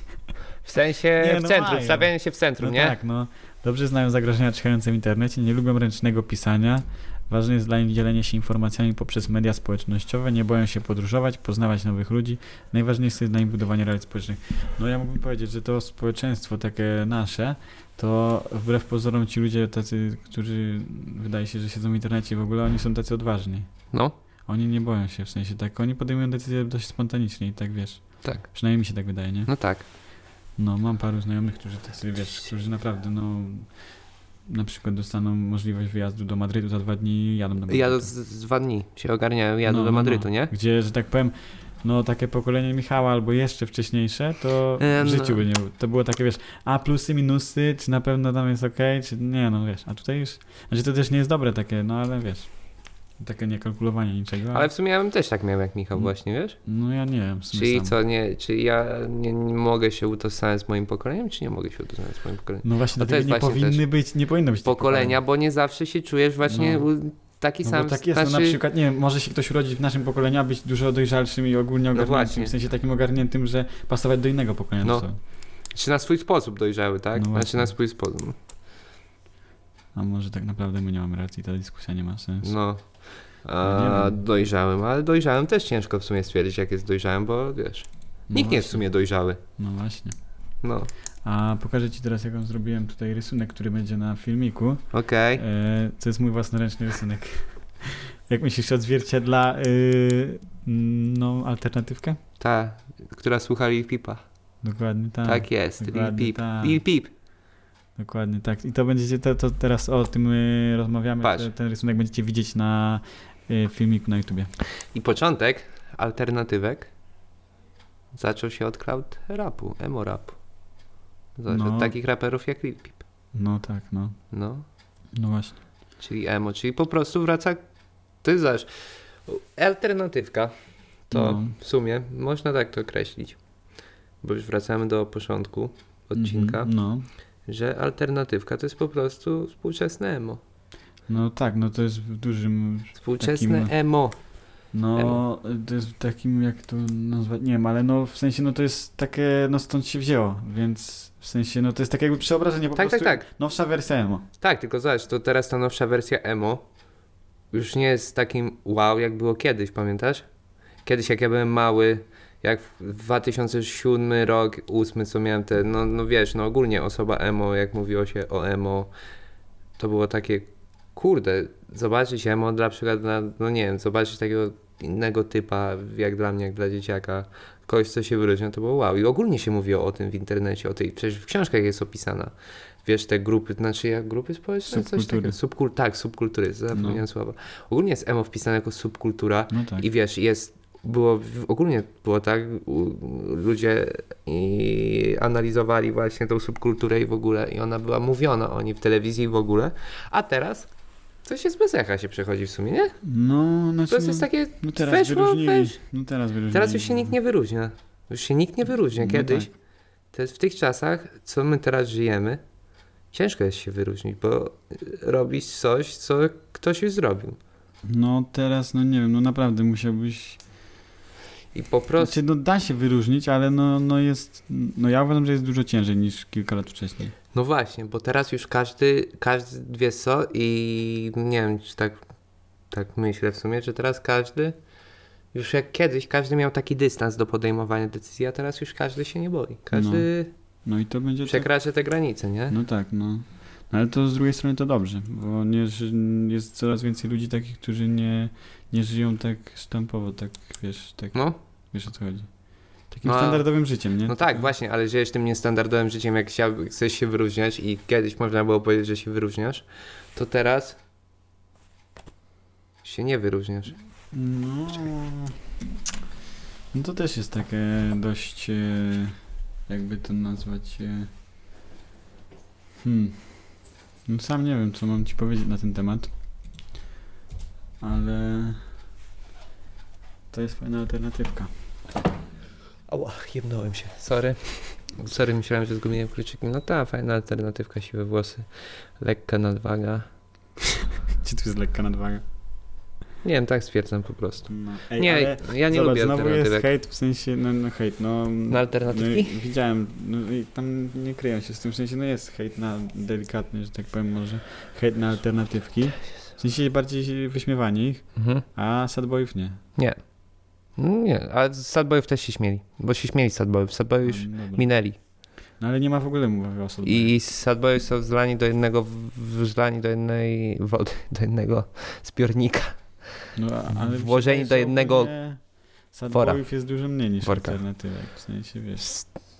W sensie
Nie,
w
no
centrum,
mają.
stawianie się w centrum,
No
nie?
tak, no. Dobrze znają zagrożenia czyhające w internecie, nie lubią ręcznego pisania. Ważne jest dla nich dzielenie się informacjami poprzez media społecznościowe, nie boją się podróżować, poznawać nowych ludzi. Najważniejsze jest dla nich budowanie relacji społecznych. No ja mógłbym powiedzieć, że to społeczeństwo takie nasze, to wbrew pozorom ci ludzie tacy, którzy wydaje się, że siedzą w internecie w ogóle, oni są tacy odważni.
No,
Oni nie boją się, w sensie tak, oni podejmują decyzje dość spontanicznie i tak wiesz.
tak.
Przynajmniej mi się tak wydaje, nie?
No tak.
No, mam paru znajomych, którzy tacy, wiesz, którzy naprawdę, no, na przykład dostaną możliwość wyjazdu do Madrytu za dwa dni i jadą do Madrytu.
Ja z, z dwa dni się ogarniałem, jadę
No, no,
do
no.
Madrytu, nie?
Gdzie, że tak powiem, no takie pokolenie Michała albo jeszcze wcześniejsze, to
Em,
w życiu by nie było. To było takie, wiesz, a plusy, minusy, czy na pewno tam jest okej, czy nie, no wiesz. A tutaj już, znaczy to też nie jest dobre takie, no ale wiesz, takie niekalkulowanie niczego.
Ale w sumie ja bym też tak miał jak Michał
Mm.
właśnie, wiesz?
No ja nie wiem, No. w sumie
Czyli
sam.
co, nie, czy ja nie, nie mogę się utożsamiać z moim pokoleniem, czy nie mogę się utożsamiać z moim pokoleniem?
No właśnie,
No to jest
dlatego nie
właśnie
powinny być, nie powinno być tych
Pokolenia, bo nie zawsze się czujesz właśnie
No.
u- taki
No
sam.
bo tak jest, no na
znaczy-
przykład, nie wiem, może się ktoś urodzić w naszym pokoleniu, a być dużo dojrzalszym i ogólnie ogarniętym,
No właśnie.
w sensie takim ogarniętym, że pasować do innego pokolenia.
No.
No.
Czy na swój sposób dojrzały, tak?
No
znaczy
właśnie.
na swój sposób.
A może tak naprawdę my nie mamy racji, ta dyskusja nie ma sensu.
No.
No
A,
nie wiem.
dojrzałem, ale dojrzałem też ciężko w sumie stwierdzić, jak jest dojrzałem, bo wiesz.
No
Nikt nie jest w
właśnie.
sumie dojrzały.
No właśnie.
No.
A pokażę ci teraz, jaką zrobiłem tutaj rysunek, który będzie na filmiku.
Okej.
E, to jest mój własnoręczny rysunek. Jak myślisz, odzwierciedla y, no, alternatywkę?
Ta, która słucha Lil Peepa.
Dokładnie tak.
tak jest. Lil
dokładnie
Peep.
tak.
Lil Peep.
Dokładnie tak. I to będziecie, to, to teraz o tym y, rozmawiamy.
Patrz.
Te, ten rysunek będziecie widzieć na y, filmiku na YouTubie.
I początek alternatywek zaczął się od cloud rapu, emo rapu. Zobacz,
No.
od takich raperów jak Lil Peep.
No tak, no.
No.
No właśnie.
Czyli emo, czyli po prostu wraca. Ty zaś. Alternatywka. To
No.
w sumie można tak to określić. Bo już wracamy do początku odcinka,
Mhm, no.
że alternatywka to jest po prostu współczesne emo.
No tak, no to jest w dużym.
Współczesne
Takim-
emo.
No to jest w takim, jak to nazwać, nie wiem, ale no w sensie, no to jest takie, no stąd się wzięło, więc w sensie, no to jest takie jakby przeobrażenie po
Tak, tak,
prostu.
tak.
Nowsza wersja emo.
Tak, tylko zobacz, to teraz ta nowsza wersja emo już nie jest takim wow, jak było kiedyś, pamiętasz? Kiedyś, jak ja byłem mały, jak w 2007 rok, 8 co miałem te, no, no wiesz, no ogólnie osoba emo, jak mówiło się o emo, to było takie, kurde, zobaczyć emo dla przykład, na, no nie wiem, zobaczyć takiego innego typa, jak dla mnie, jak dla dzieciaka, kogoś, co się wyróżnia, to było wow. I ogólnie się mówiło o tym w internecie, o tej, przecież w książkach jest opisana, wiesz, te grupy, znaczy jak grupy społeczne, coś
Subkultury.
takiego, subkul, tak, subkultury, zapomniałem słowa. Ogólnie jest emo wpisane jako subkultura,
No tak.
i wiesz, jest, było, w- ogólnie było tak, u, ludzie i analizowali właśnie tą subkulturę i w ogóle, i ona była mówiona o niej w telewizji i w ogóle, a teraz coś jest bez echa się przechodzi w sumie, nie?
No, znaczy,
To jest takie,
no teraz
weszło,
wyróżnili.
weź.
No teraz wyróżnili.
teraz już się nikt nie wyróżnia, już się nikt nie wyróżnia,
No
kiedyś,
tak.
to jest w tych czasach, co my teraz żyjemy, ciężko jest się wyróżnić, bo y, robisz coś, co ktoś już zrobił
No teraz, no nie wiem, no naprawdę musiałbyś.
i po prostu...
Znaczy, no da się wyróżnić, ale no, no jest. No ja uważam, że jest dużo ciężej niż kilka lat wcześniej.
No właśnie, bo teraz już każdy, każdy wie co i nie wiem, czy tak, tak myślę w sumie, że teraz każdy, już jak kiedyś każdy miał taki dystans do podejmowania decyzji, a teraz już każdy się nie boi. Każdy
No i to będzie. tak-
przekracza te granice, nie?
No tak, no. No Ale to z drugiej strony to dobrze, bo nie, ży- jest coraz więcej ludzi takich, którzy nie, nie żyją tak sztampowo, tak wiesz, tak
No,
wiesz o co chodzi. Takim
No, a-
standardowym życiem, nie?
no tak, właśnie, ale żyjesz tym niestandardowym życiem, jak chciałby- chcesz się wyróżniać i kiedyś można było powiedzieć, że się wyróżniasz, to teraz się nie wyróżniasz.
No. No to też jest takie dość. e, Jakby to nazwać. e, Hmm. No sam nie wiem, co mam ci powiedzieć na ten temat. Ale. To jest fajna alternatywka.
Ała, jebnąłem się. Sorry. Sorry, myślałem, że zgubiłem kluczyki. No ta fajna alternatywka, siwe włosy, lekka nadwaga.
Czy tu jest lekka nadwaga?
Nie wiem, tak stwierdzam po prostu.
No. Ej,
nie,
ale
ja nie
zobacz,
lubię
znowu jest
alternatywek.
hejt, w sensie, no, no hejt, no...
Na alternatywki?
No, widziałem, no i tam nie kryją się z tym, w sensie, no jest hejt na delikatny, że tak powiem może, hejt na alternatywki, w sensie bardziej wyśmiewanie ich,
Mhm.
a sadboyów nie.
Mm, Nie, ale z Sadbojów też się śmieli, bo się śmieli z Sadbojów. Sadbojów już
No, dobra.
minęli.
no ale nie ma w ogóle mowy o sadbojach.
I Sadbojów są zlani do jednego, wrzlani do jednej wody, do jednego zbiornika.
No, a- ale
włożeni
przecież
do jednego
ogólnie
wora.
Sadboyów jest dużo mniej niż
Worka.
alternatywek, w sensie, wiesz.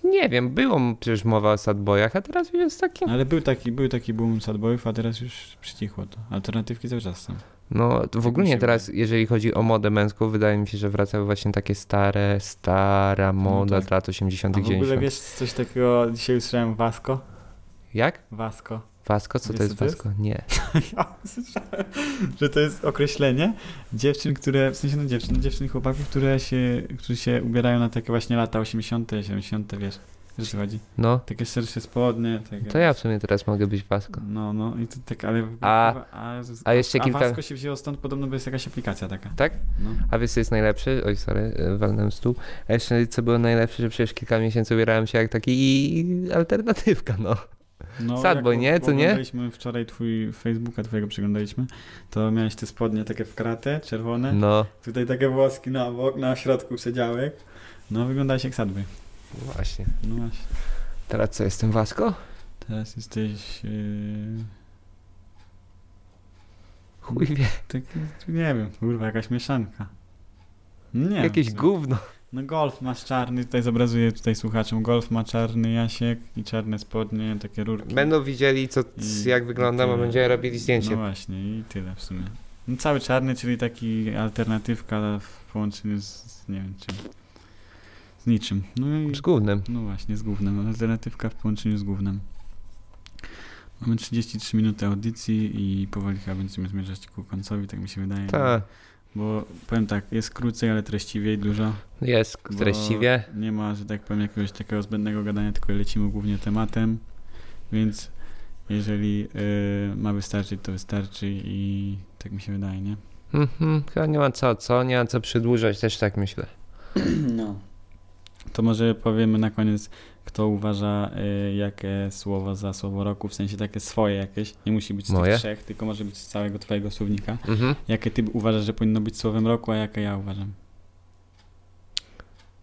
Nie wiem, było przecież mowa o Sadbojach, a teraz już jest taki...
No, ale był taki, był taki boom sadboyów, a teraz już przycichło to. Alternatywki cały czas są.
No, to
Tak mi
w
się
ogóle
wydaje.
teraz, jeżeli chodzi o modę męską, wydaje mi się, że wracały właśnie takie stare, stara moda
tak.
z lat 80.
A w ogóle
90.
wiesz coś takiego, dzisiaj usłyszałem Wasko?
Jak?
Wasko.
Wasko? Co
Wiesz,
to jest
co to jest?
wasko? Nie.
Ja usłyszałem, że to jest określenie dziewczyn, które, w sensie no dziewczyn, dziewczyn i chłopaków, które się, którzy się ubierają na takie właśnie lata 80., 70., wiesz, wiesz o co chodzi?
No,
Takie szersze spodnie, takie...
to ja w sumie teraz mogę być wasko.
No, no i to tak, ale...
A-
a,
a jeszcze
a
kilka-
Wasko się wzięło stąd, podobno bo jest jakaś aplikacja taka.
Tak?
No.
A wiesz, co jest najlepsze? Oj, sorry, e, walnąłem stół. A jeszcze co było najlepsze, że przecież kilka miesięcy ubierałem się jak taki alternatywka, no.
No,
Sad
jak
boy, nie? Co nie?
oglądaliśmy wczoraj twój Facebooka, twojego przeglądaliśmy, to miałeś te spodnie takie w kratę, czerwone.
No,
Tutaj takie włoski na bok, na środku przedziałek. No, wyglądałeś jak sadby.
właśnie.
No właśnie.
Teraz co, jestem wasko?
Teraz jesteś... Yy,
Chuj wie,
tak, nie wiem, kurwa, jakaś mieszanka. Nie
jakieś
wiem, co-
gówno.
No golf masz czarny, tutaj zobrazuję tutaj słuchaczom. Golf ma czarny jasiek i czarne spodnie, takie rurki.
Będą widzieli, co,
I-
jak wyglądam, a
tyle.
będziemy robili zdjęcie.
No właśnie, i tyle w sumie. No, cały czarny, czyli taki alternatywka w połączeniu z, z nie wiem czym. Z niczym. No i
Z gównem.
No właśnie, z gównem. Alternatywka w połączeniu z gównem. Mamy 33 minuty audycji i powoli chyba będziemy zmierzać ku końcowi, tak mi się wydaje.
Tak.
Bo powiem tak, jest krócej, ale treściwiej dużo.
Jest
Bo-
treściwie.
Nie ma, że tak powiem, jakiegoś takiego zbędnego gadania, tylko lecimy głównie tematem. Więc Jeżeli y, ma wystarczyć, to wystarczy i tak mi się wydaje, nie?
Mhm, chyba nie ma co, co? Nie ma co przedłużać, też tak myślę.
No. To może powiemy na koniec, kto uważa y, jakie słowo za słowo roku, w sensie takie swoje jakieś. Nie musi być z
Moje?
tych trzech, tylko może być z całego twojego słownika.
Mhm.
Jakie ty uważasz, że powinno być słowem roku, a jakie ja uważam?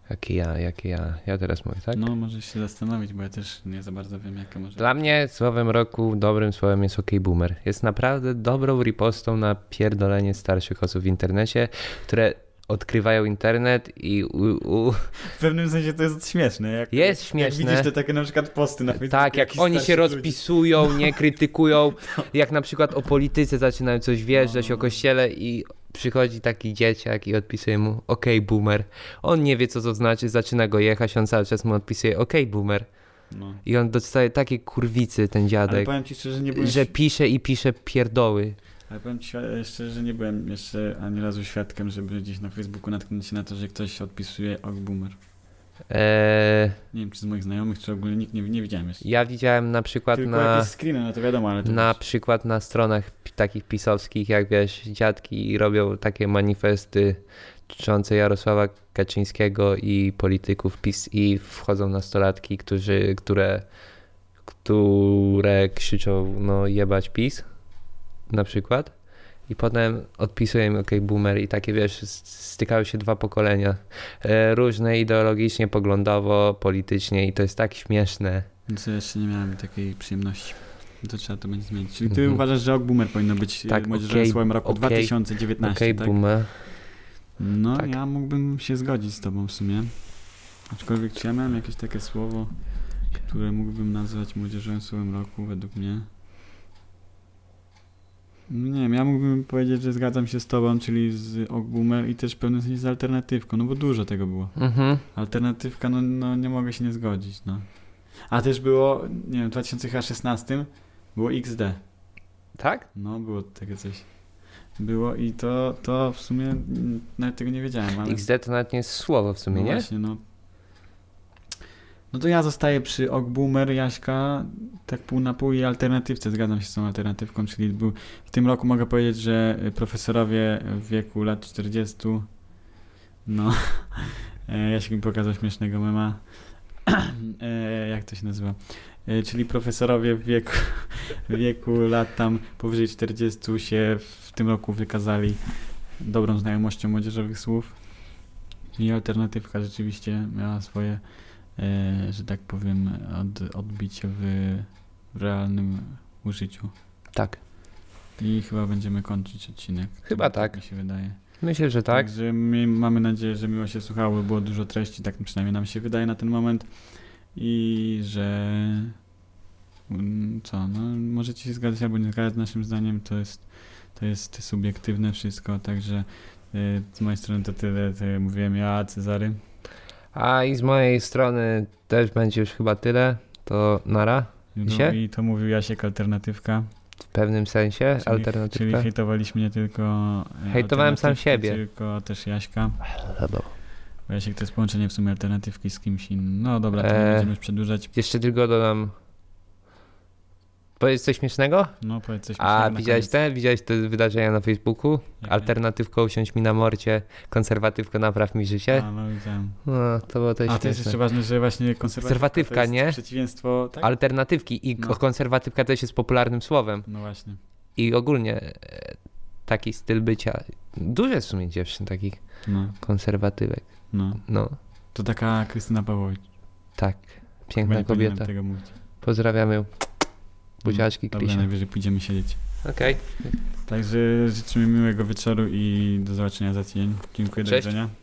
Jakie ja, jakie ja. Ja teraz mówię, tak?
No, możesz się zastanowić, bo ja też nie za bardzo wiem, jakie może
Dla mnie słowem roku, dobrym słowem jest OK Boomer. Jest naprawdę dobrą ripostą na pierdolenie starszych osób w internecie, które odkrywają internet i u, u,
W pewnym sensie to jest śmieszne. Jak,
jest śmieszne.
Jak widzisz te takie na przykład posty na Facebooku.
Tak, jak
jakichś
oni się
starszych ludzi.
rozpisują,
No.
nie krytykują, jak na przykład o polityce zaczynają coś
No,
wjeżdżać, o kościele i przychodzi taki dzieciak i odpisuje mu okej boomer. On nie wie co to znaczy, zaczyna go jechać, on cały czas mu odpisuje okej boomer.
No.
I on dostaje takie kurwicy ten
Ale
dziadek,
powiem ci szczerze, nie byłem,
że pisze i pisze pierdoły.
ale powiem ci świ- szczerze, że nie byłem jeszcze ani razu świadkiem, żeby gdzieś na Facebooku natknąć się na to, że ktoś odpisuje ok boomer.
Eee,
Nie wiem, czy z moich znajomych, czy ogólnie nikt nie, nie widziałem jeszcze.
ja widziałem na przykład
Tylko
na...
jakieś screeny, no to wiadomo, ale to
Na
też-
przykład na stronach pi- takich pisowskich, jak wiesz, dziadki robią takie manifesty dotyczące Jarosława Kaczyńskiego i polityków PiS i wchodzą nastolatki, którzy, które, które krzyczą no jebać PiS na przykład i potem odpisuję im okej boomer i takie wiesz, s- stykają się dwa pokolenia e, różne ideologicznie, poglądowo, politycznie i to jest tak śmieszne.
Więc jeszcze nie miałem takiej przyjemności. To trzeba to będzie zmienić. Czyli ty
Mhm.
uważasz, że ok boomer powinno być
Tak,
tak, młodzieżowym
okej,
słowem roku
okej,
2019,
Okej
tak?
boomer.
No,
Tak.
ja mógłbym się zgodzić z tobą w sumie. Aczkolwiek czy ja miałem jakieś takie słowo, które mógłbym nazwać młodzieżowym słowem roku według mnie? No Nie wiem, ja mógłbym powiedzieć, że zgadzam się z tobą, czyli z Ogbumer i też w pewnym sensie z alternatywką, no bo dużo tego było.
Mhm.
Alternatywka, no, no nie mogę się nie zgodzić, no. A też było, nie wiem, w 2016 było XD.
Tak?
No, było takie coś. Było i to, to w sumie mm, nawet tego nie wiedziałem, ale...
XD to nawet nie jest słowo w sumie,
no
nie?
Właśnie, no. No to ja zostaję przy Ok Boomer, Jaśka, tak pół na pół i alternatywce. Zgadzam się z tą alternatywką, czyli był, w tym roku mogę powiedzieć, że y, profesorowie w wieku lat 40, no, e, Jaśka mi pokazał śmiesznego mema, e, jak to się nazywa, e, czyli profesorowie w wieku, w wieku lat tam powyżej 40 się w tym roku wykazali dobrą znajomością młodzieżowych słów. I alternatywka rzeczywiście miała swoje, e, że tak powiem, od, odbicie w, w realnym użyciu.
Tak.
I chyba będziemy kończyć odcinek.
Chyba tak.
mi się wydaje.
Myślę, że tak.
Także mi, mamy nadzieję, że miło się słuchało, było dużo treści, tak przynajmniej nam się wydaje na ten moment. I że. mm, Co, no, możecie się zgadzać albo nie zgadzać, naszym zdaniem to jest, to jest subiektywne wszystko, także y, z mojej strony to tyle. To mówiłem ja, Cezary.
A i z mojej strony też będzie już chyba tyle. To nara
No
Się?
I to mówił Jasiek Alternatywka.
w pewnym sensie
Czyli- Czyli
alternatywka.
hejtowaliśmy nie tylko. e,
Hejtowałem sam
alternatywki,
siebie.
Tylko też Jaśka. Bo Jasiek to jest połączenie w sumie alternatywki z kimś innym. No dobra, to nie
Eee.
będziemy już przedłużać.
Jeszcze tylko dodam. Powiedz coś śmiesznego?
No powiedz coś
A
śmiesznego na
widziałeś
koniec.
te? Widziałeś te wydarzenia na Facebooku?
Jakie?
Alternatywką usiądź mi na morcie, konserwatywko napraw mi życie.
A, no widziałem.
No, to było też
A to jest jeszcze
śmieszne.
ważne, że właśnie konserwatywka,
Konserwatywka,
to jest
nie?
przeciwieństwo, tak?
Alternatywki i
No.
konserwatywka też jest popularnym słowem.
No właśnie.
I ogólnie e, taki styl bycia. Duże w sumie dziewczyn takich
No,
konserwatywek.
no.
No,
To taka Krystyna Pawłowicz.
tak.
Chyba
Piękna
nie powinienem
kobieta.
tego mówić.
Pozdrawiamy ją. Buziaczki,
Dobra,
Krisia.
najwyżej pójdziemy siedzieć.
Okej.
Także życzymy miłego wieczoru i do zobaczenia za tydzień. Dziękuję, do
Cześć.
widzenia.